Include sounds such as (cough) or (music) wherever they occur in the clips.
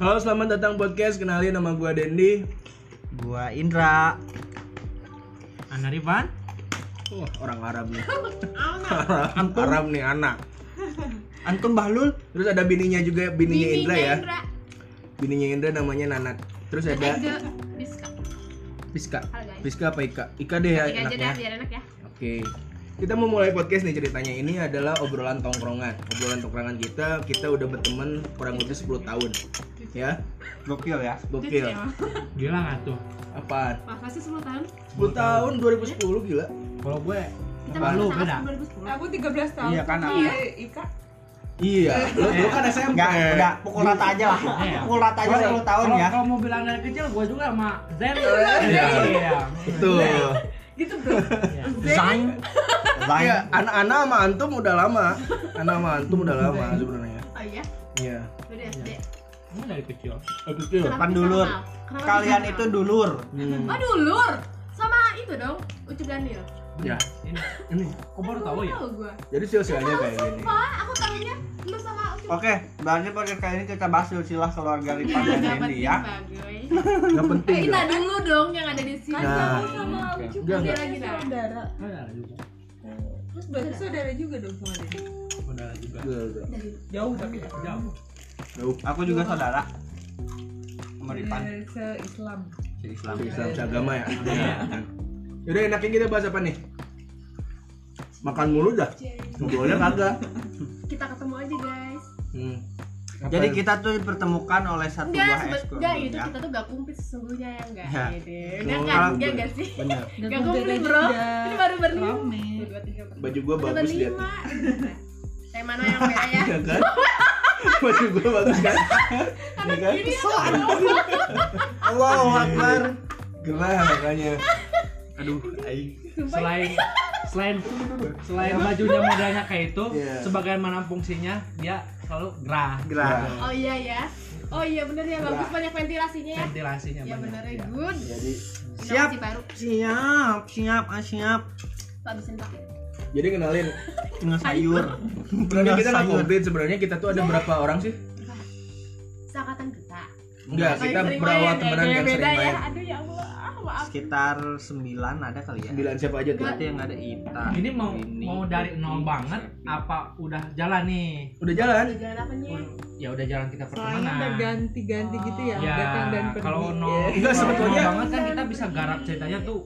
Halo, selamat datang podcast. Kenalin nama gua Dendi. Gua Indra. Anda Rifan? Wah, orang Arab nih. (laughs) orang Arab nih anak. Antum Bahlul? Terus ada bininya juga, bininya Bibi Indra ya. Indra Bininya Indra namanya Nanat. Terus ada Ega Biska Piska. Halo, guys. Piska apa Ika? Ika deh ya Tiga aja dah enaknya. biar enak ya Oke. Kita mau mulai podcast nih ceritanya. Ini adalah obrolan tongkrongan. Obrolan tongkrongan kita, kita udah berteman kurang lebih 10 tahun. Ya, Gokil ya. Gitu gokil. ya. Gila nggak tuh? Apaan? Masa sih 10 tahun? 10 tahun 2010 gila. Kalau gue Kita Apaan? Lu masih beda. sama 2010 Aku 13 tahun. Iya, kan, sama Iya. Ika. Iya, lu dulu kan SMP. Enggak, udah pukul rata aja lah. Iya. Pukul rata aja Kalau- 10 tahun kalau- ya. Kalau mau bilang dari kecil, gue juga sama Zen. Iya. Iya. Betul. Gitu, Bro. Zain. Zain. Iya, anak-anak sama antum udah lama. Anak sama antum udah lama sebenarnya. Oh iya? Iya. Udah SD Ini dari kecil. Betul. Kenapa Pan bisa dulur. kenal? Kenapa Kalian bisa itu kenal? dulur. Hmm. Oh dulur? Sama itu dong Ucup Daniel Ya. Ini. Ini. Kok baru tahu ya? Tahu gua Jadi silsilahnya kayak gini. Sumpah aku tahunya lu sama Ucup Oke, berarti podcast kali ini kita bahas silsilah keluarga Rifan Gak dan Dendi penting ya. bagoy Enggak Eh penting. Gak. kita Iya, dulu dong yang ada di sini Iya. Nah. Kamu sama aku Oke. juga Enggak, lagi enggak. saudara. Oh, ya, juga. Terus berarti saudara juga dong sama dia. Udah juga. Udah, udah. Jauh tapi ya, jauh. Jauh. Aku juga saudara. Iya, Sama Rifan. Eh, Se-Islam. Islam. iya. Islam seagama ya. Yaudah enaknya kita bahas apa nih? Makan mulu dah. Ngobrolnya kagak. Kita ketemu aja guys Hmm. Jadi kita tuh dipertemukan oleh Kan satu Enggak, buah sebe- ekskul. enggak itu ya. kita tuh gak kumplit sesungguhnya ya enggak Ya. Udah Oh, kan? bener. Iya enggak sih? (laughs) Benar. Gak komplit bro Ini baru berlima Rame. Satu, dua, tiga, empat. Baju gua Udah bagus lihat. (laughs) berlima Yang mana yang merah ya? Iya kan? (laughs) Baju gua bagus kan? Iya kan? Ini Allahu Akbar. Gerah makanya. Aduh, aing. sumpah Selain selain selain bajunya modelnya kayak itu, Iya. sebagian mana fungsinya dia selalu gerah. Gerah. Oh iya ya Oh iya bener ya bagus banyak ventilasinya Iya, ya Ventilasinya Ya bener ya banyak. good Jadi Siap. Inovasi baru Siap, siap, ah, siap. Bagusin pakai jadi kenalin Dengan (laughs) sayur. Sebenarnya kita nggak komplit sebenarnya kita tuh ada Iya. berapa orang sih? Seangkatan kita Enggak, Atau yang kita sering berawal main, temenan gaya-gaya yang sering beda ya main. Aduh ya Allah maaf Sekitar 9 ada kali ya. Sembilan siapa aja tuh? Iya. Berarti yang ada Ita. Ini mau Ini, mau dari nol ini, banget apa udah jalan nih? Udah jalan. Udah jalan apanya Ya udah jalan kita Soalnya pertemanan. berganti-ganti gitu ya, Ya, datang dan pergi. kalau nol Iya. Enggak, kalau sebetulnya- nol banget kan kita bisa garap ceritanya tuh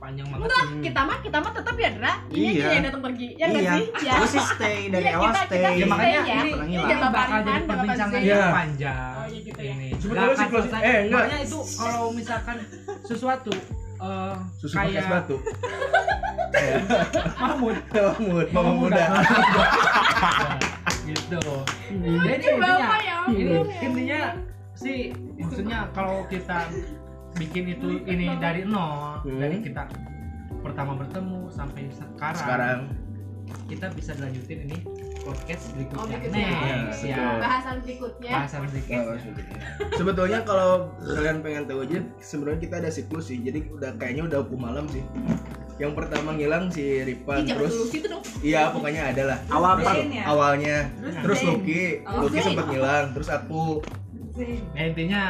panjang banget. Enggak, kita mah kita mah tetap ya Dra Ini Iya. aja yang datang pergi Ya enggak Iya. sih? Ya Gue sih stay dari Iya, awal kita- stay. kita Ya makanya Iya, ini, orang ini hilang. bakal, Bakal jadi jadi perbincangan Iya. yang panjang. Oh, iya gitu ya. Ini. Sebetulnya Nggak sih akan closing- selesai. eh, enggak. Makanya itu kalau misalkan sesuatu eh Susu pakai es kayak batu. Mahmud, Mahmud, (laughs) mama muda. (laughs) gitu. Jadi intinya, Bapak ya ampun, ini ya intinya sih maksudnya kalau kita bikin itu ini dari nol Hmm. dari kita pertama bertemu sampai sekarang, Sekarang kita bisa lanjutin ini podcast Oh, berikutnya berikutnya. Iya. next Iya, ya Bahasan berikutnya bahasan berikutnya sebetulnya kalau kalian pengen tahu aja sebenarnya kita ada siklus sih. Jadi udah kayaknya udah hukum malam sih. Yang pertama ngilang si Ih, Ripan jangan dulu terus situ dong Iya pokoknya ada lah Awal Terus Zain ya? awalnya Terus Terus Zain. Lucky Oh, Lucky Zain. sempet ngilang Terus aku Zain. nah, intinya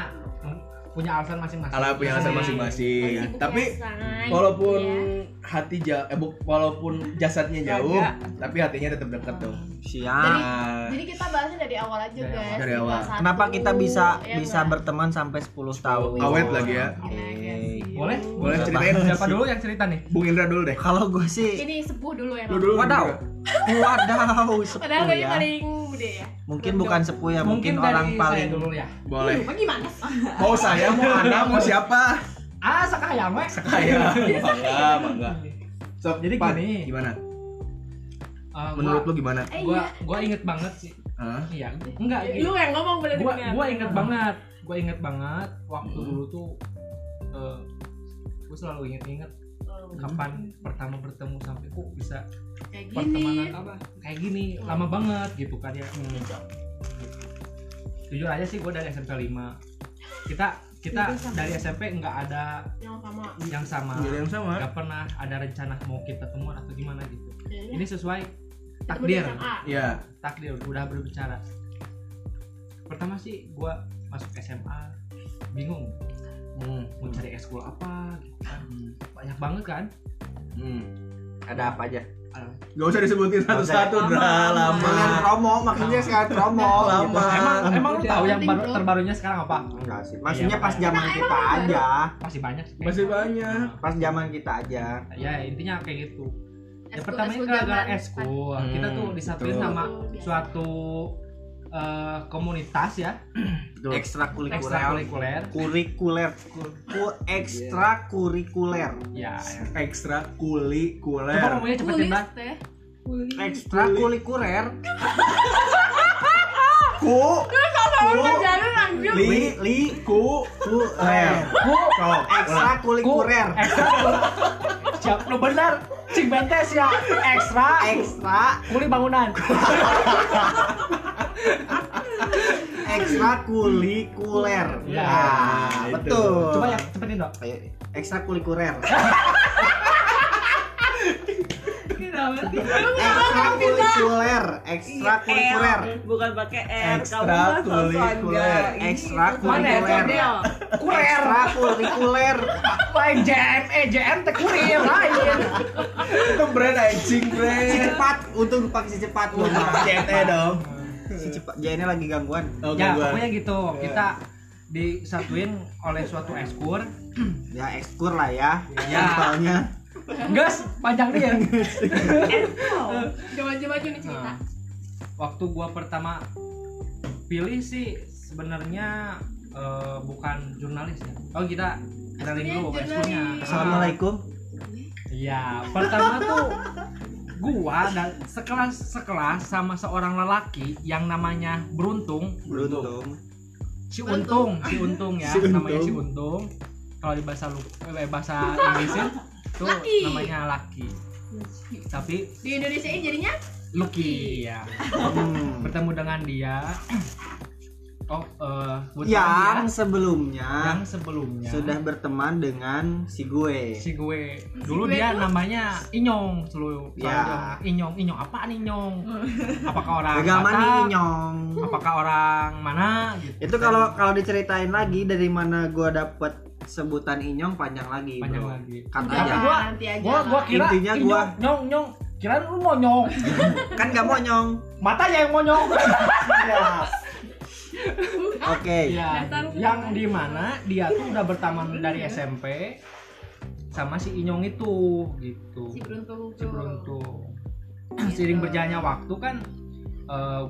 mm, punya alasan masing-masing Ala punya alasan Iya. Masih masing-masing sibuk Tapi ya, Shay. walaupun Iya. hati jauh eh, bu- walaupun jasadnya jauh tapi hatinya tetap dekat dong Siap. Ah, Jadi kita bahasnya dari awal aja Dari guys. awal. Dari Di awal. kelas satu, Kenapa kita bisa ya bisa enggak? berteman sampai 10 tahun? Awet lagi ya. Oke. boleh boleh Siapa? ceritain siapa dulu yang cerita nih Bung Indra dulu deh Kalau gue sih Ini sepuh dulu ya. Lu Bang. dulu Wadaw Wadaw Padahal Sepuh gue ini ya paling muda ya. Mungkin bukan sepuh ya Mungkin, dari orang saya paling dulu ya boleh Lu gimana sih? mau saya mau anda mau siapa Oh, ah Eh, sekayang weh (laughs) kayak bangga bangga Sob, Jadi Pan, gini. gimana Eh, menurut lu gimana Eh gua iya. gua inget banget sih Hah? iya enggak gini. Lu yang ngomong boleh gua dengar. Oh, gua inget banget gua inget banget waktu Hmm. dulu tuh eh, gua selalu inget-inget Hmm. kapan pertama bertemu sampai kok bisa Kayak pertemanan gini. apa kayak gini Hmm. lama banget gitu kan ya jujur aja sih gue dari SMP 5 kita kita Itu sama. dari SMP nggak ada Yang sama. yang sama Jadi yang sama nggak pernah ada rencana mau kita temuan atau gimana gitu Kayaknya ini sesuai temen Iya. di takdir SMA. ya takdir udah berbicara pertama sih gue masuk SMA bingung Hmm. mau cari ekskul apa gitu kan banyak banget kan Hmm. Ada apa aja? Gak usah disebutin satu-satu, Lama, Dra, lama. lama. Jangan promo, makanya sekarang promo Nah. lama. emang emang lu Udah, tahu yang penting, baru- Bro. terbarunya sekarang apa Enggak sih. Maksudnya Iya, pas Pak. zaman Nah, kita emang baru. aja. masih banyak sih kayaknya. Masih banyak. Nah, Pas zaman kita aja. ya intinya kayak gitu yang Eskul- pertama ini kan eskul gara-gara zaman. eskul Nah, kita tuh Hmm, disatuin betul. sama Eskul biasa. suatu eh, komunitas ya Ekstrakurikuler. ekstrakurikuler Kurikuler. Ku ekstrakurikuler. ya ya. Ekstra coba kulikuler. ngomongnya cepetin Kulis banget teh. Ekstrakurikuler. Ku, Kalau jarang lanjut. li, li, ku, Kuler. Stop. Ekstrakurikuler. eh, siap lo benar cing bentes ya ekstra Ekstra kuli bangunan (laughs) ekstrakurikuler. Ya, Nah, itu. betul. coba ya cepetin dong Ayo, ekstrakurikuler. Ekstrakurikuler, ekstrakurikuler, Iya, bukan pakai R. Kamu mah sosokan, ekstrakurikuler gak. Mana ya, ekstrakurikuler, Cordel? kuler ekstrakurikuler, lain JM eh JM teh kurir lain Itu brand anjing, si brand. cepat, untung pakai si cepat loh. Cete dong. Si cepat, jadinya lagi gangguan. (laughs) Oke, ya gua. Iya. pokoknya gitu kita disatuin oleh suatu ekskur Ya ekskur lah ya, Ya. Iya. soalnya. gas Ya. panjang dia Jangan maju-maju nih cerita. Nah, waktu gua pertama pilih sih sebenarnya eh, bukan jurnalis ya. Oh kita kenalin Ekskulnya dulu jurnalis. ekskulnya. Assalamualaikum. Iya, pertama tuh gua dan sekelas sekelas sama seorang lelaki yang namanya Beruntung, Beruntung. si Untung, si Untung ya, (laughs) Si Untung. namanya si Untung. Kalau di bahasa lu, eh, bahasa Inggrisnya tuh Laki. namanya Laki. Tapi Di Indonesia ini jadinya Lucky ya. Hmm. bertemu dengan dia oh eh kebetulan Yang dia yang sebelumnya sebelumnya sudah berteman dengan si gue. si gue dulu gue dia tuh- namanya Inyong dulu Ya. Soalnya dia, Inyong Inyong apaan (laughs) Inyong apakah orang Gagal mani Batak? nyong. apakah orang mana gitu Itu kalau kalau diceritain lagi dari mana gua dapet sebutan inyong panjang lagi. bro. kan. ya? Katanya Udah panjang lagi (laughs) Tapi lah, gua- nanti aja. gua gua kira Intinya "Inyong, gua- nyong nyong kira lu mau nyong kan gak mau nyong. matanya yang mau (laughs) nyong Ya. Oke. Iya. Dasar lu yang kenapa? di mana dia tuh udah berteman dari SMP sama si Inyong itu gitu si beruntung Gitu. si beruntung sering Iya. berjalannya waktu kan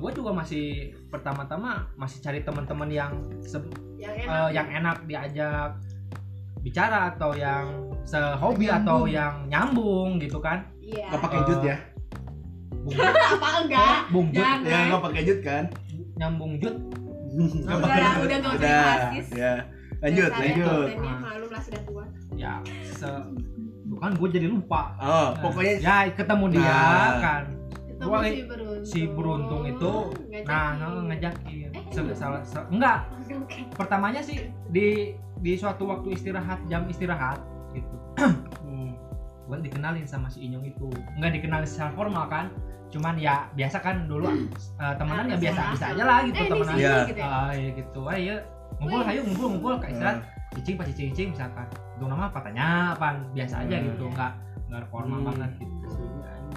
gue juga masih pertama-tama masih cari teman-teman yang se- yang eh, enak yang enak diajak bicara atau yang sehobi atau yang nyambung gitu kan iya Gak pakai jut ya? Bung, apa enggak bung jut jangan Ya, gak pakai jut kan? nyambung jut Gak Udah pakai lah, jut. udah gak usah Udah, dibahas, ya. Lanjut, Dasar ya, lanjut. kontennya malu lah sudah tua ya se bukan gue jadi lupa Oh, pokoknya ya ketemu dia Nah. kan ketemu Gua- si beruntung si beruntung itu Ngajakin. nah ngejakin Eh, Se- salah- se- enggak pertamanya sih di di suatu waktu istirahat jam istirahat (clears throat) gitu gue dikenalin sama si Inyong itu nggak dikenalin secara formal kan cuman ya biasa kan dulu eh, temenan ya biasa biasa aja lah Hmm. eh, gitu ini temenan sih, Iya. gitu ya. Ah, ya gitu ayo ngumpul Wih. ayo ngumpul ngumpul kak istirahat Hmm. cicing pas cicing cicing misalkan itu nama apa tanya apa biasa aja Hmm. gitu nggak nggak formal Hmm. banget gitu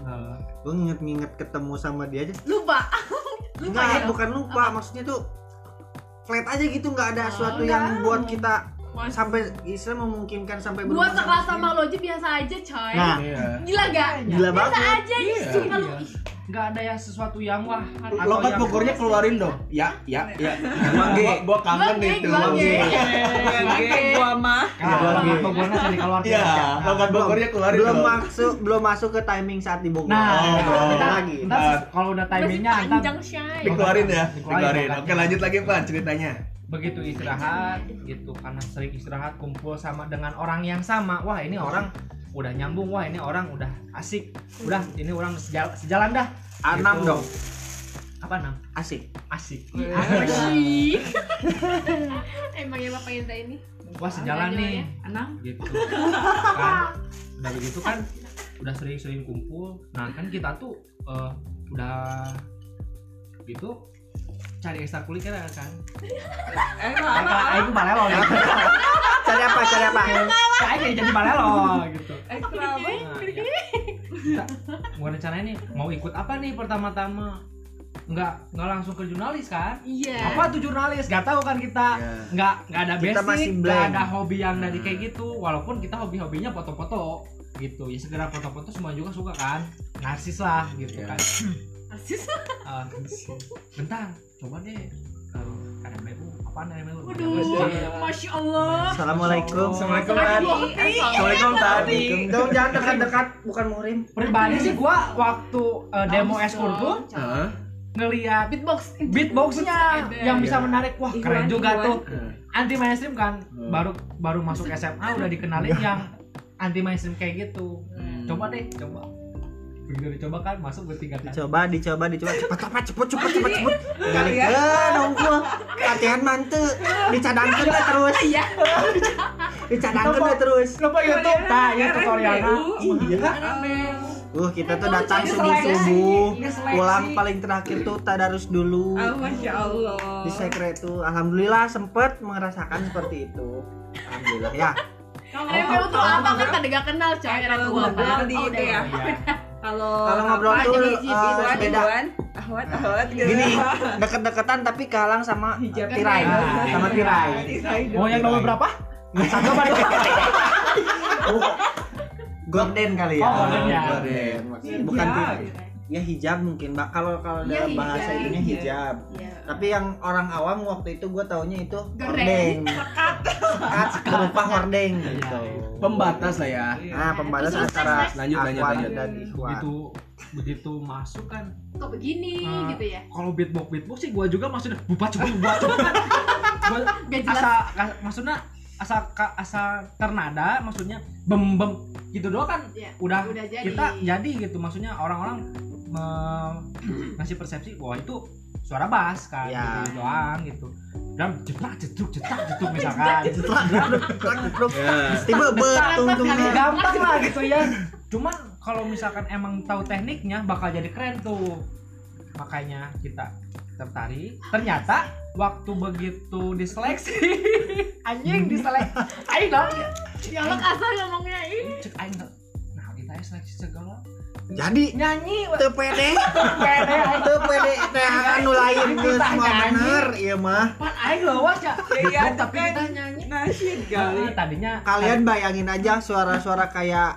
Eh, Gue nginget-nginget ketemu sama dia aja. lupa (laughs) Lupa Nah, bukan lupa, maksudnya tuh flat aja gitu nggak ada Oh, sesuatu enggak. yang buat kita Mas- sampai Islam memungkinkan sampai berteman gua sekelas sama sama lo aja biasa aja coy Nah. Iya. gila gak dia. gila biasa banget. aja Iya. sih kalau Iya. nggak ada yang sesuatu yang wah atau Lokat yang- bukurnya keluarin dong. Ya, ya, ya. Gua gua- gua kangen Gua- itu. gua- gua- gua mah Kalau Iya. bukurnya sering keluar Iya, lokat bukurnya keluarin belum dong. masuk belum masuk ke timing saat di Bogor. Gitu. Nah, Oh, ntar- oh. ntar- lagi. ntar kalau udah masih timingnya ntar panjang shy Dikeluarin ya, Dikeluarin, dikeluarin. makanya. Oke, lanjut lagi, Pak, ceritanya. begitu istirahat gitu karena sering istirahat kumpul sama dengan orang yang sama. Wah, ini orang udah nyambung, wah ini orang udah asik. Udah, ini orang sejal- sejalan dah. Anam Gitu. dong, Apa nam? asik. Asik. Iya. Asik. (laughs) Emang ya bapak Indra ini Wah, Iya, sejalan nih. enam Gitu. Kan. Udah begitu kan udah sering-sering kumpul. Nah, kan kita tuh eh, udah gitu cari ekstrakurikuler kan Eh, apa apa? Nah, itu balelo ya (laughs) Cari apa? Cari apa? saya kayak jadi balelo (laughs) gitu Iya. Ekstra apa? Iya. Nah, ya. Kita mau rencana ini mau ikut apa nih pertama-tama nggak nggak langsung ke jurnalis kan Iya. apa tuh jurnalis nggak tahu kan kita Ya. nggak nggak ada Kita masih basic nggak blank. ada hobi yang dari kayak Hmm. gitu walaupun kita hobi hobinya foto-foto gitu ya segera foto-foto semua juga suka kan narsis lah gitu Iya. Ya. kan Asis. Eh, bentar coba deh eh, KMBU apa namanya Iya. Waduh, masya Allah. Assalamualaikum. Assalamualaikum Tadi, tadi. Iya. Iya. Assalamualaikum tadi. Dong jangan dekat-dekat, bukan muhrim. pribadi sih gua waktu eh, demo Iya. eskur tuh Heeh. ngeliat Iya. Beatbox. Oh, beatboxnya Beatbox ada. yang bisa Iya. menarik wah Iwan, keren juga Iwan. tuh Heeh. anti mainstream kan Hmm. baru baru masuk SMA udah dikenalin yang anti mainstream kayak gitu Hmm. coba deh coba begitu dicoba kan masuk bertiga kan Coba dicoba dicoba cepet cepat cepet cepet cepet cepet. Iya. Kalian. Galikeun unggul. Latihan mantu dicadangkeun we terus. Iya. Dicadangkeun we terus. lupa YouTube nah ya tutorialnya Iya. Uh, kita tuh datang subuh-subuh. Pulang paling terakhir tuh tadarus dulu. Oh, Masya Allah. Di sekret tuh alhamdulillah sempet merasakan seperti itu. Alhamdulillah ya. Review tuh apa kan tadi gak kenal coy. Kayak kalau Review apa? ngobrol di Oh, itu udah. ya. Iya. Kalau Kalau ngobrol apa, tuh, jadi eh, Iwan, beda. Iwan, Ahwat, Ahwat gitu. Gini, deket-deketan tapi kalang sama Hijab. tirai, gitu. Tirai. sama (laughs) tirai. Iya. Tirai dong. mau yang nomor berapa satu apa dua Uh, Gorden kali ya. Oh, gorden ya. Gorden, maksudnya. Bukan tirai. Ya hijab mungkin. Mbak. Kalau kalau Ya, dalam hijab. bahasa ini hijab. Iya. Tapi yang orang awam waktu itu gue taunya itu Gorden. hordeng. Sekat, berupa hordeng gitu. Pembatas lah ya. Iya. Nah, pembatas Itu sukses, antara guys. Lanjut, lanjut, Aquan lanjut. dan Ikhwan. Ah, begitu begitu masuk kan Kok begini Ah. gitu ya? kalau beatbox beatbox sih gua juga maksudnya bubat coba bubat coba Gua Gak jelas. asa ka- maksudnya asa ka- asa ternada maksudnya bem bem gitu doang kan Ya, udah, udah jadi. kita jadi gitu maksudnya orang-orang me- ngasih persepsi wah itu suara bass kan Iya. Ya. gitu doang gitu dan jeplak jeduk jetak (laughs) jeduk misalkan Setelah duduk, setelah duduk, Ya. tiba Nah, beruntungnya. gampang (laughs) lah gitu ya cuman kalau misalkan emang tahu tekniknya bakal jadi keren tuh makanya kita tertarik ternyata waktu begitu diseleksi anjing (laughs) diseleksi aing dong Dialog asal ngomongnya ini. cek aing dong. nah kita ya seleksi segala Jadi nyanyi weh. teu pede, pede ya. (laughs) aing teu pede teh anu lain geus Ditanya, mah anjing. bener ieu Iya, mah. pan aing lawas ya Iya, Goblok, tapi kan. kita nyanyi Nasyid kali. Nah, tadinya Kalian bayangin aja suara-suara kayak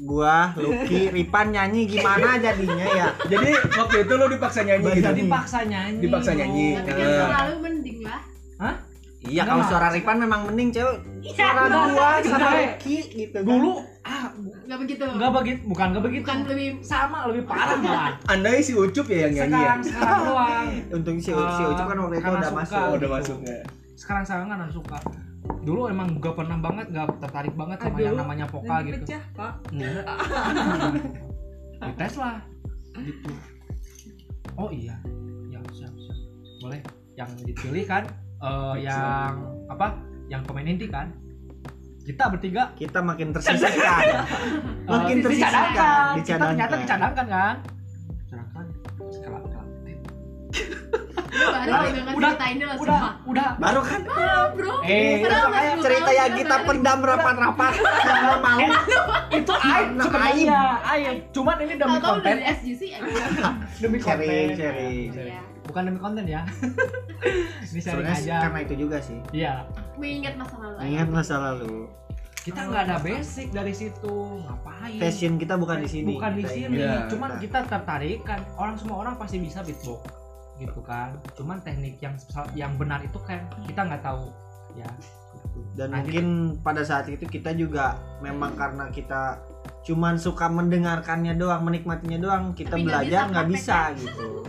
gua, Lucky, Ripan nyanyi gimana jadinya ya? Jadi waktu itu lo dipaksa nyanyi gitu. tadi dipaksa nyanyi Nah, Dipaksa nyanyi. Bro. Tapi kan Eh. selalu mending lah. Hah? Iya kalau suara Ripan memang mending cewek. Suara Iya, gua bener. sama Lucky gitu kan. dulu ah Gak begitu. nggak begitu bukan nggak begitu Bukan lebih sama lebih parah malah Andai si Ucup ya yang (laughs) nyanyi ya. sekarang sekarang doang Untung si si Ucu kan waktu itu Karena udah suka. masuk. Oh, udah masuk ya. sekarang sekarang kan harus suka dulu emang gak pernah banget gak tertarik banget sama Aduh, yang namanya vokal Nanti gitu Pecah, Pak. Enggak. dites lah gitu oh iya ya siap siap boleh yang dipilih kan eh, yang apa yang pemain inti kan kita bertiga Kita makin tersisihkan. (laughs) eh, Makin tersisihkan. dicadangkan kita ternyata Dicadangkan. dicadangkan kan dicadangkan kelak kelak baru Udah, dengan udah, cerita ini langsung udah mah. udah Baru kan Ah, bro. Eh, Kenapa makanya lu cerita tahu yang kita kita tarik? pendam (laughs) rapat-rapat. Karena malu. itu aib Nah, sebenarnya aib cuman ini demi Tahu-tahu konten dari SGC ya. Iya. demi Sharing, konten sharing. Iya. bukan demi konten ya (laughs) ini sharing Sebenarnya sih aja karena itu juga sih. Nah, iya Mengingat masa lalu. Ingat masa lalu. kita nggak ada basic dari situ ngapain Passion kita Iya. bukan di sini. bukan di Kita sini Iya. cuman kita tertarik kan orang semua orang pasti bisa beatbox gitu kan cuman teknik yang yang benar itu kan kita nggak tahu ya gitu. dan Nah, mungkin pada saat itu kita juga memang karena kita cuman suka mendengarkannya doang menikmatinya doang kita Tapi nggak belajar bisa ya. nggak bisa, prakteknya. (laughs)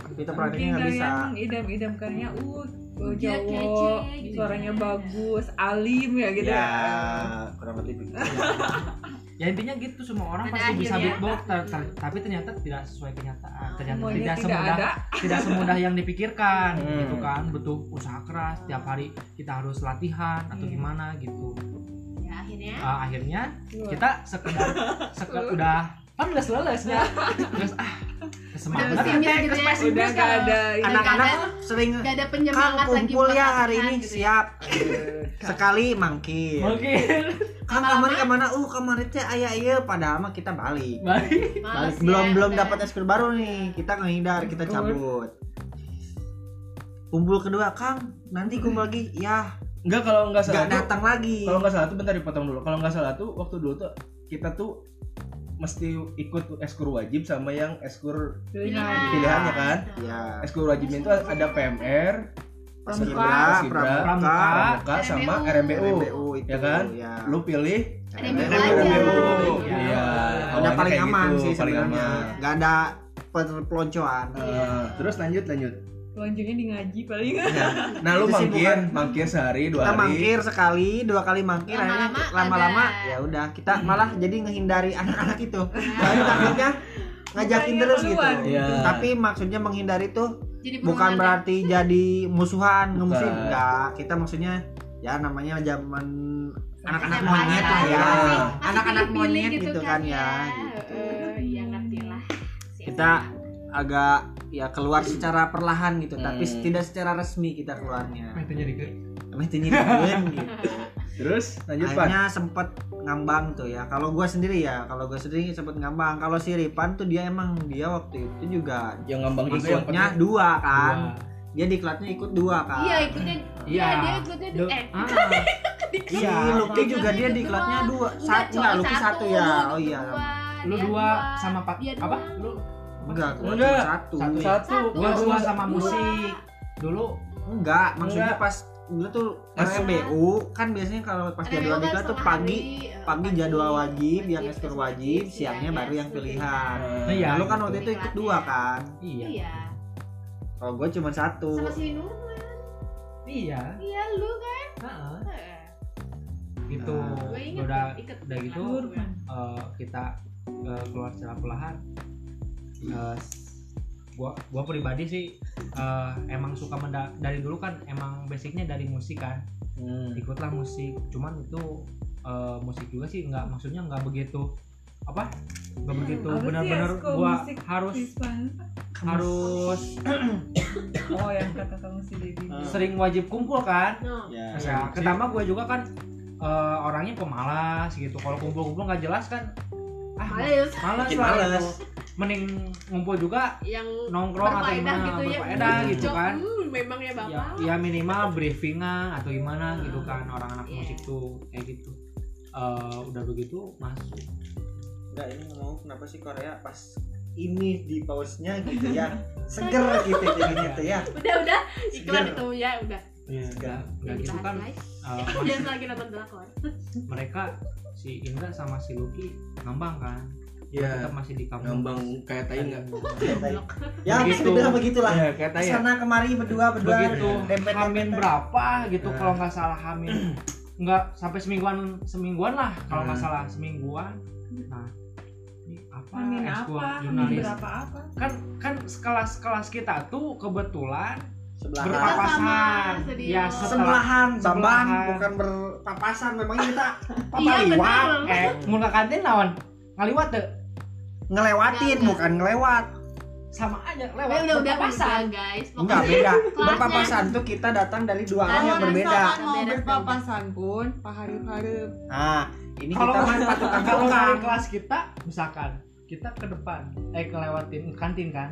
gitu kita Mungkin prakteknya nggak bisa kalian mengidam-idamkannya, uh, oh, Dia Jawa, kece, gitu. suaranya bagus, alim ya gitu. ya Iya. ya. kurang lebih gitu. begitu. ya intinya gitu semua orang Pada pasti bisa akhirnya- beatbox ter- ter- tapi ternyata tidak sesuai kenyataan ternyata Semuanya tidak tidak semudah ada. tidak semudah yang (laughs) dipikirkan Hmm. gitu kan butuh usaha keras tiap hari kita harus latihan atau Iya. gimana gitu Ya akhirnya. Ah, akhirnya kita sekedar sekedar udah kan udah selesnya terus ah semangat Udah pesimis gitu ya. udah gak ada ini kan anak-anak kadang- sering Gak ada Kang penyemangat lagi kumpul buat ya hari latihan ini gitu ya. (laughs) siap sekali mangkir Iya, mungkin Kang Lama-lama- kemarin kemana uh kemarin teh ayah iya padahal mah kita balik Males baik balik belum ya, belum udah. dapat eskul baru nih kita ngehindar kita Betul. cabut kumpul kedua Kang nanti kumpul lagi ya Enggak kalau enggak salah nggak tuh- datang lagi kalau nggak salah tuh bentar dipotong dulu kalau nggak salah tuh waktu dulu tuh kita tuh mesti ikut eskur wajib sama yang eskur Iya. pilihannya kan ya eskur wajibnya itu ada PMR Pramuka Paskibra, Pramuka, Pramuka sama RMBU RMBU itu Ya kan? ya. lu pilih RMBU RMBU aja. iya udah awalnya paling kayak aman gitu, sih paling sebenarnya aman nggak ada pel- peloncoan Eh, terus lanjut lanjut lonjongnya di ngaji paling nah lu Itu sih mangkir bukan- mangkir sehari dua kita hari mangkir sekali dua kali mangkir akhirnya Lama-lama lama-lama ada. ya udah kita malah jadi ngehindari anak-anak itu soalnya (laughs) takutnya ngajakin Bukannya terus gitu keluar. Iya. tapi maksudnya menghindari tuh Jadi bukan penyemangat. berarti jadi musuhan ngemusuhin Bukan. enggak kita maksudnya ya namanya zaman anak-anak SMA monyet lah ya Iya. Masih- masih anak-anak pilih-pilih monyet gitu kan ya gitu. Eh, iya ngerti lah Si kita agak ya keluar secara perlahan gitu tapi Hmm. tidak secara resmi kita keluarnya Pengen jadi gede. Emang itu nyiriin gitu terus lanjut pan akhirnya sempet ngambang tuh ya kalau gua sendiri ya kalau gua sendiri sempet ngambang kalau si Ripan tuh dia emang dia waktu itu juga yang ngambang juga yang masuknya penting dua kan dia diklatnya ikut dua kan iya ikutnya iya Iya. dia ikutnya di Duh, eh ah, Si Iya, Lucky juga dia ikut diklatnya dua. dua Enggak, satu cowok enggak Lucky Iya, satu ya oh iya dua, lu dia dua sama empat dia apa dua. lu enggak gua Enggak. cuma satu Satu, Ya. satu Satu. gua dua sama Dua. musik dulu enggak maksudnya Enggak. pas dulu tuh Mas- RMBU kan biasanya kalau pas Ada jadwal yoga diklat tuh setengah pagi hari, eh, pagi jadwal wajib yang wajib, ekskul terus wajib nanti siangnya baru yang pilihan Eh, Iya. nah, lu kan waktu itu ikut Diklatnya. dua kan iya iya kalau gua cuma satu sama si Nur iya iya lu kan heeh. Eh, gitu gue inget udah tuh, ikut udah gitu Nur kan? eh, kita eh, keluar secara perlahan Eh, s- gua gua pribadi sih eh, emang suka menda- dari dulu kan emang basicnya dari musik kan Hmm. ikutlah musik cuman itu eh, musik juga sih nggak maksudnya nggak begitu apa nggak begitu apa sih benar-benar eskul gua musik? harus Siswan. harus oh yang kata kamu si Dedi sering wajib kumpul kan no ya ya, pertama gua juga kan eh, orangnya pemalas gitu kalau kumpul-kumpul nggak jelas kan ah males malas Bikin lah males. gitu. mending ngumpul juga yang nongkrong atau berfaedah gitu gimana ya berfaedah gitu Cok, kan hmm, memang ya ya, bapak ya minimal briefingan atau gimana gitu kan orang anak Iya. musik tuh kayak gitu Eh, udah begitu masuk Enggak ini ngomong kenapa sih Korea pas ini di pausnya gitu ya seger gitu jadinya tuh ya udah udah iklan Seger. itu ya udah Iya, udah Iya. udah Jangan gitu dibahas kan lagi. (laughs) eh, jangan lagi nonton drakor mereka si Indra sama si Lucky ngambang kan Iya, tetap masih di Kan kampus ngambang kayak tai enggak? Blok. ya bisa Begitu. dibilang begitulah Iya, kayak tai. ya? sana kemari berdua berdua begitu dempet hamin berapa gitu Nah. kalau nggak salah hamin nggak sampai semingguan semingguan lah kalau nggak Nah. salah semingguan nah ini apa Amin ekskul apa? Amin jurnalis berapa apa? kan kan sekelas kelas kita tuh kebetulan sebelahan Berapa? berpapasan Sama, ya serius. setelah sebelahan bambang Sebelahan. bukan berpapasan memang kita iya papaliwat benar eh mun ke kantin lawan ngaliwat deh ngelewatin bukan ngelewat sama aja Udah, lewat udah udah berpapasan. udah, guys enggak Pokoknya beda kelasnya. berpapasan tuh kita datang dari dua arah Kalau yang berbeda misalkan mau Beda-beda. berpapasan pun, Pak Harif-Harif nah ini kalau kita main patokan Nah, kalau Nah, dari tukang kelas kita misalkan kita ke depan eh kelewatin kantin kan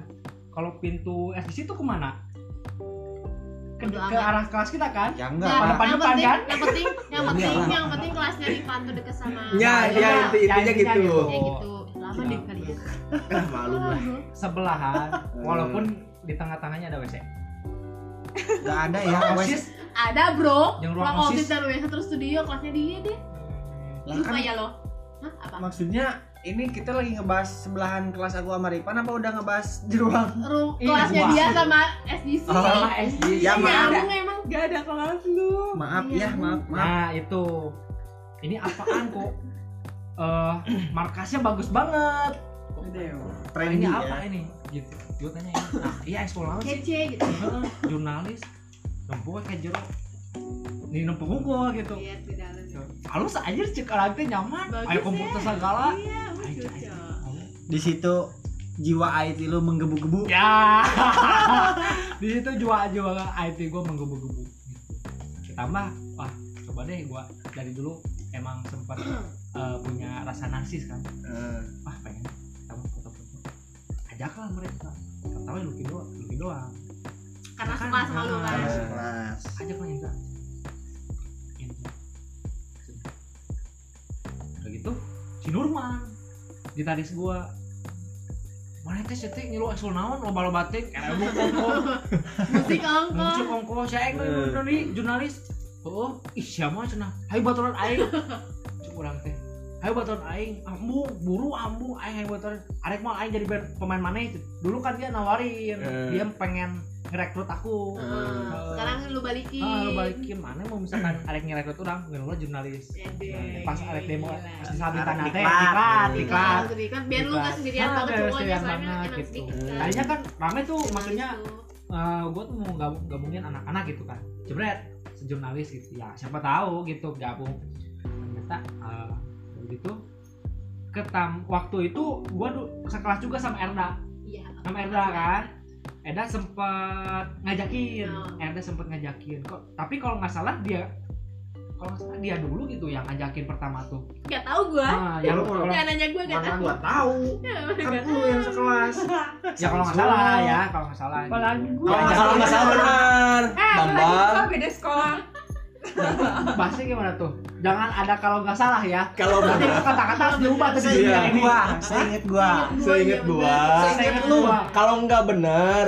kalau pintu SDC itu kemana ke, Bodo ke amat. arah kelas kita kan ya Nah, enggak Pak. yang Depan-depan, penting- kan? yang penting yang Ya, penting iyalah. yang penting kelasnya di pantu deket sama Ya, Nah, ya, Iya. inti- intinya intinya gitu. Ya gitu lama Ya. deh kalian Ah, malu lah. (laughs) sebelahan Hmm. walaupun di tengah-tengahnya ada WC enggak ada ya wes osis ada bro Yang ruang ruang OSIS. osis dan WH terus studio kelasnya dia deh Lah, lupa kan ya lo Hah, apa maksudnya ini kita lagi ngebahas sebelahan kelas aku sama Ripan apa udah ngebahas (laughs) di ruang Ru- Iya, kelasnya gua. dia sama SDC Oh, sama Iya, SD Ya, Nyambung maaf. emang Gak ada kelas lu maaf Iya. ya maaf maaf nah itu ini apaan kok Eh, (clears throat) markasnya bagus banget Eh, trendy ini ya apa ini gitu gue tanya nah, iya ekskul laut sih kece gitu Heeh, jurnalis nempok kayak jero ini nempok gua gitu lihat Iya, di dalam halus aja cek alatnya nyaman Bagus ayo komputer segala iya Ayo, lucu ayo. di situ jiwa IT lu menggebu-gebu ya (laughs) di situ jual jual IT gue menggebu-gebu gitu. ditambah wah coba deh gue dari dulu emang sempat eh, punya rasa narsis kan Eh, wah pengen sama foto-foto ajaklah mereka pertama Lucky doang Lucky doang karena suka sama lu kan Karena Nah. sekelas ajaklah Indra Indra udah gitu si Nurman gitaris gua mana teh si teh ngilu asal naon loba loba teh eh lu kongko musik muncul ongkong kongko saya yang jurnalis jurnalis oh ih siapa cenah hayu baturan aing cek urang teh hayu baturan aing ambung buru ambung aing hayu baturan arek mah aing jadi ber- pemain maneh dulu kan dia nawarin Eh. dia pengen ngerekrut aku Heeh. Nah, sekarang lu balikin ah lu balikin mana mau misalkan arek ngerekrut urang ngeun lah jurnalis Nah, Ede. pas arek demo pas di Arek sabitan teh diklat. diklat Diklat. diklat Iklan, iklan, iya. biar lu gak sendirian Ah, banget biar semuanya sendirian soalnya enak banget gitu. sedikit kan. tadinya kan rame tuh maksudnya Gitu. gue tuh mau gabung, gabungin anak-anak gitu kan jebret sejurnalis gitu ya siapa tahu gitu gabung ternyata eh, begitu ketam waktu itu gue sekelas juga sama Erda Iya. sama Erda kan Erda sempet ngajakin Hmm. Erda sempet ngajakin kok tapi kalau nggak salah dia kalau nggak salah dia dulu gitu yang ngajakin pertama tuh Gak tau gua. nah, ya Lu kalau Gak nanya gua gak mana tau. gua tahu kan lu yang sekelas ya kalau nggak salah ya kalau nggak salah gitu. apalagi gue Ya, Masalah jangan- masalah benar. eh apalagi Bambang. kita beda sekolah bahasnya gimana tuh jangan ada kalau nggak salah ya Kalau Berarti benar, kata-kata harus diubah tuh di Iya. saya dunia inget ini. gua saya inget gua (laughs) seinget gua. Seinget lu. Kalau nggak benar,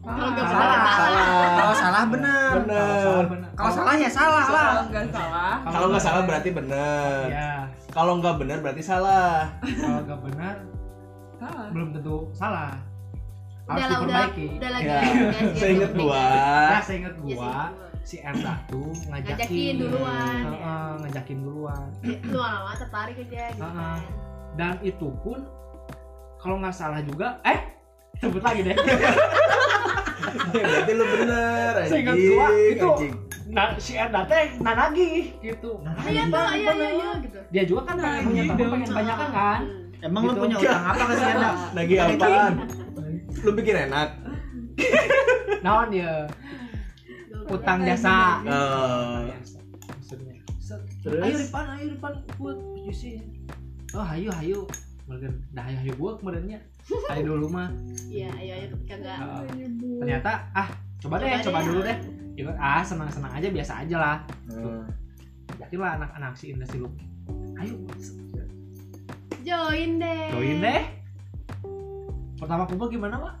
Kalau nggak salah, salah, salah. kalau salah benar benar. kalau salah ya salah lah kalau nggak salah Kalau nggak salah berarti benar. ya Kalau nggak benar berarti salah. kalau nggak benar salah belum tentu salah harus Udah lah, udah. diperbaiki Udah Iya. lagi. Ya, Iya, seinget (laughs) ya gua. seinget gua si Erda tuh ngajakin, Ngajakin duluan, ya. Heeh, ngajakin duluan Lu lama-lama tertarik aja gitu Ah, ah. kan. dan itu pun kalau nggak salah juga eh sebut lagi (laughs) deh Berarti lu benar. Seinget anjing, gua, itu. anjing. nah si Erda teh nah lagi gitu Ayo tuh, ayo, ayo, iya, ayo gitu. Ah, hmm. dia juga kan pengen punya teman pengen banyak kan emang lu Gitu. punya utang apa ke si Anda? Lagi apaan? Lu bikin enak. naon ya utang jasa Iya. Eh, maksudnya Set, Terus? ayo Ripan ayo Ripan buat juicy oh ayo ayo Mereka, dah ayo ayo buat kemarinnya (laughs) ayo dulu mah Iya, ayo, ayo kagak. Heeh. ternyata ah coba deh Coba coba deh. dulu deh Ikut, ah senang senang aja biasa aja lah hmm. yakin lah anak-anak si Indra si Lucky ayo Join deh. join deh pertama kumpul gimana mak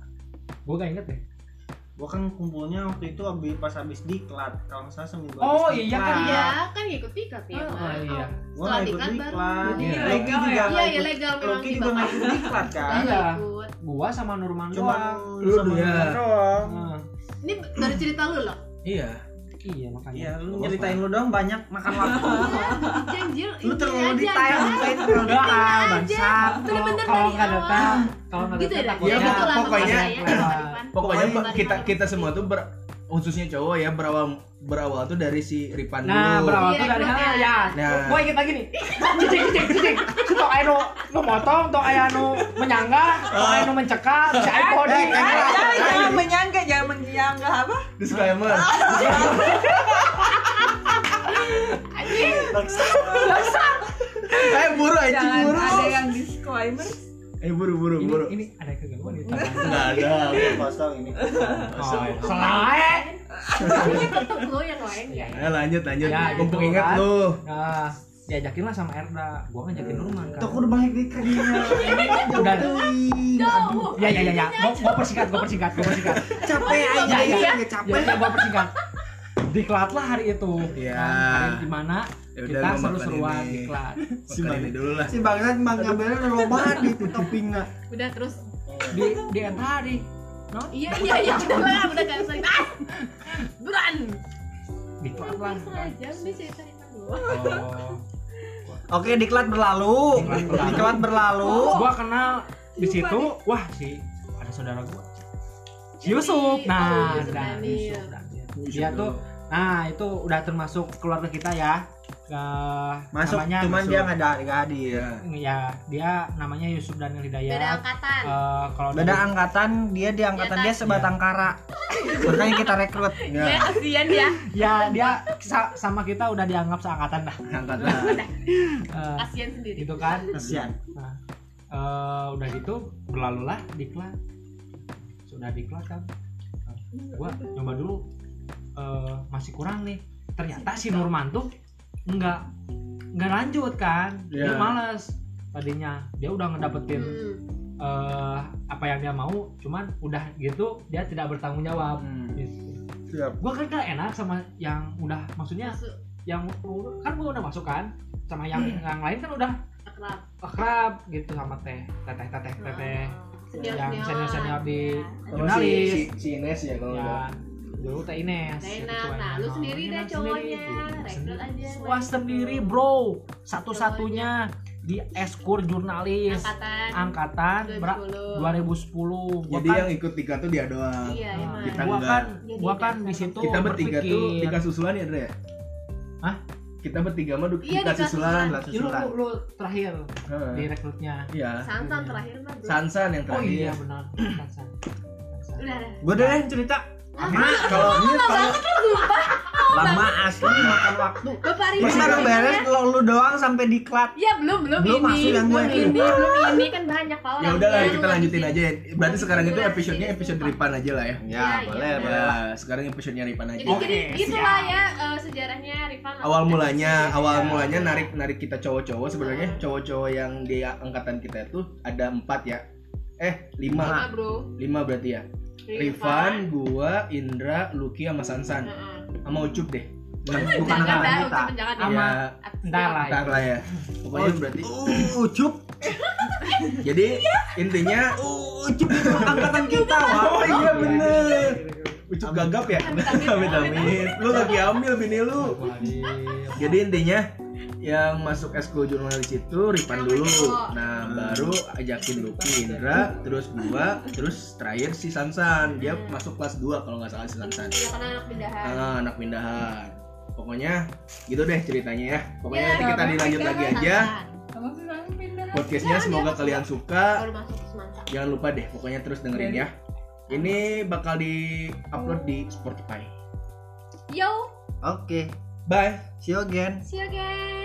gue gak inget deh (laughs) gua kan kumpulnya waktu itu abis pas abis diklat kalau nggak salah seminggu Oh, abis iya kan, diklat. Iya, kan ngikut tiket ya. Oh, Mak. iya. gua nggak ikut Pelatihan diklat Jadi Iya. Rocky juga ilegal ya? Iya, nggak iya ikut legal memang Rocky di juga nggak ikut diklat (laughs) kan Iya. ikut. gua sama Nurman cuma doang Lu doang. doang Heeh. Ini dari cerita lu (laughs) loh. Iya. iya makanya Iya, lu nyeritain lu dong banyak makan waktu. Janjir, (laughs) lu ini terlalu aja, detail, Mak. lu itu terlalu (laughs) detail, bangsat. Itu bener Ah, dari kalau nggak awal. detail kalau nggak Gitu detail ya, Ya, takutnya gitu lah pokoknya- maksud saya, Pak Rifan. Pokoknya Pokoknya pe- kita kita semua gitu. tuh ber- khususnya cowok ya berawal berawal tuh dari si Ripan Nah, Kan dulu. berawal Iya, tuh dari ikutnya. sana ya. Nah. Gua inget lagi nih. Cicing, cicing, cicing. Si tok aya nu nu motong, tok aya nu menyangga, tok aya nu mencekal, Ah. si aya body. Eh, jangan jangan menyangka jangan menyangka apa Disclaimer. Ah. (laughs) Eh buru anjing jangan buru. ada yang disclaimer Eh buru buru Ini, buru. ini ada kegangguan itu. Enggak (laughs) ada. Gua kosong ini. Oh, Masuk. selae. Ini tetep lo yang lain ya. Ya lanjut lanjut. Ya, Mumpung gitu ingat kan. lu. Nah, diajakin lah sama Erda. Gua ngajakin Nurman kan. Tuh, aku udah banyak (laughs) dikritik. Udah. Jauh. Ya ya ya ya. Gua gua persingkat, gua persingkat, gua persingkat. Capek aja Iya, iya. ya, nggak Ya capek. ya gua persingkat. Diklat lah hari itu. Iya. Nah, Hari di mana Ya udah kita gua makan seru-seruan ini. diklat. Makan ini dulu lah. Si bangsat Bang Kabel udah lobat di toppingnya. Udah terus. Di di Erda hari. No, Iya iya iya udah lah, udah gak usah. Ah. Buruan. diklat lah. Jam di cerita Rifan dulu. Oh. Oke, diklat berlalu. Diklat berlalu. Diklat berlalu. gua kenal di situ wah si ada saudara gua Iya, si Yusuf Jadi, nah oh, Yusuf dan Daniel. Yusuf Daniel. dia tuh nah itu udah termasuk keluarga kita ya eh, Masuk, namanya cuman Yusuf. dia nggak ada nggak hadir. Iya. ya dia namanya Yusuf Daniel Beda Hidayat angkatan. Eh, kalau Beda angkatan, dia di angkatan Iya, dia sebatang kara. Makanya kita rekrut. Ya, Ya, kasihan ya. (laughs) ya dia sa- sama kita udah dianggap seangkatan dah angkatan. Eh, Kasihan sendiri. gitu kan Kasihan. Nah, eh, udah gitu berlalulah diklat. Sudah diklat kan. Nah, gua coba dulu eh, masih kurang nih. Ternyata si Nurman tuh nggak nggak lanjut kan. Iya. Dia malas tadinya. Dia udah ngedapetin Hmm. eh, apa yang dia mau, cuman udah gitu dia tidak bertanggung jawab. Hmm. Gitu. Siap. Gua kan gak enak sama yang udah maksudnya Masuk yang kan gua udah masuk kan sama yang yang lain kan udah akrab. akrab gitu sama teh teteh teteh Hmm. teteh Senior Yang senior-senior di- Sama si, Jurnalis. si, si Ines ya kalau nggak. ya dulu teh Ines Teh gitu, Ines. tuh, Nah, Ines. lu sendiri Ines deh sendiri, cowoknya. tuh, Rekrut sendiri. aja, Wah, rekrut. sendiri bro satu satunya di eskur jurnalis Angkatan. angkatan ber- 2010. 2010 gua Jadi kan yang ikut Tika tuh dia doang. Iya, Nah, emang. kita gua enggak. kan Jadi gua kan dasar. di situ Kita bertiga tuh berpikir, Tika susulan ya, Dre? Hah? Kita bertiga mah du- Iya, Tika Tika susulan lah "Ih, lu, susulan. lu, lu terakhir Heeh. di rekrutnya Iya. Sansan terakhir mah. bro. Sansan yang oh iya terakhir. benar Sansan. Sansan. Udah, udah. Gue deh cerita. Ah, Lama kalau ini kalau Oh, Lama asli makan waktu. Bapak Iya, Ridwan. Masa Ridwan beres ya? lo lu doang sampai diklat. Ya belum belum, Belum ini masuk yang gua belum itu. ini belum ini kan banyak orang. ya udahlah Yang gitu. kita lanjutin masih- aja. ya. Berarti sekarang itu episode-nya episode Ripan aja lah ya. Ya, boleh, Ya, boleh sekarang episode-nya Ripan aja. Jadi jadi Oke, gitulah ya eh, sejarahnya Rifan. Iya. awal mulanya awal mulanya narik narik kita cowok-cowok sebenarnya cowok-cowok yang di angkatan kita itu ada empat ya eh Lima, lima bro. lima berarti ya Rifan gua Indra Lucky sama Sansan Heeh. sama Ucup deh Iya, Bukan anak Jangan dah, wanita. ucapan jangan dah. Sama- ya Iya. Ntar lah. entar lah ya pokoknya berarti Uh, Oh, Ucup, jadi intinya uh, Ucup itu angkatan kita, wah. oh iya bener Ucup Amin. gagap ya Amit-amit. amit amit lu lagi ambil bini lu Jadi Jadi intinya yang masuk eskul jurnalis itu Ripan dulu. Nah, baru ajakin Lucky, Indra, terus gua, terus terakhir si Sansan. Dia masuk kelas 2 kalau nggak salah si Sansan. Iya, karena anak pindahan. Ah, anak pindahan. Pokoknya gitu deh ceritanya ya. Pokoknya nanti kita Iya, dilanjut lagi aja. Kamu bilang pindah. Podcastnya semoga kalian suka. Baru masuk semangka. Jangan lupa deh, pokoknya terus dengerin ya. Ini bakal di upload di Spotify. Yo, Oke, Bye. see you again. see you again.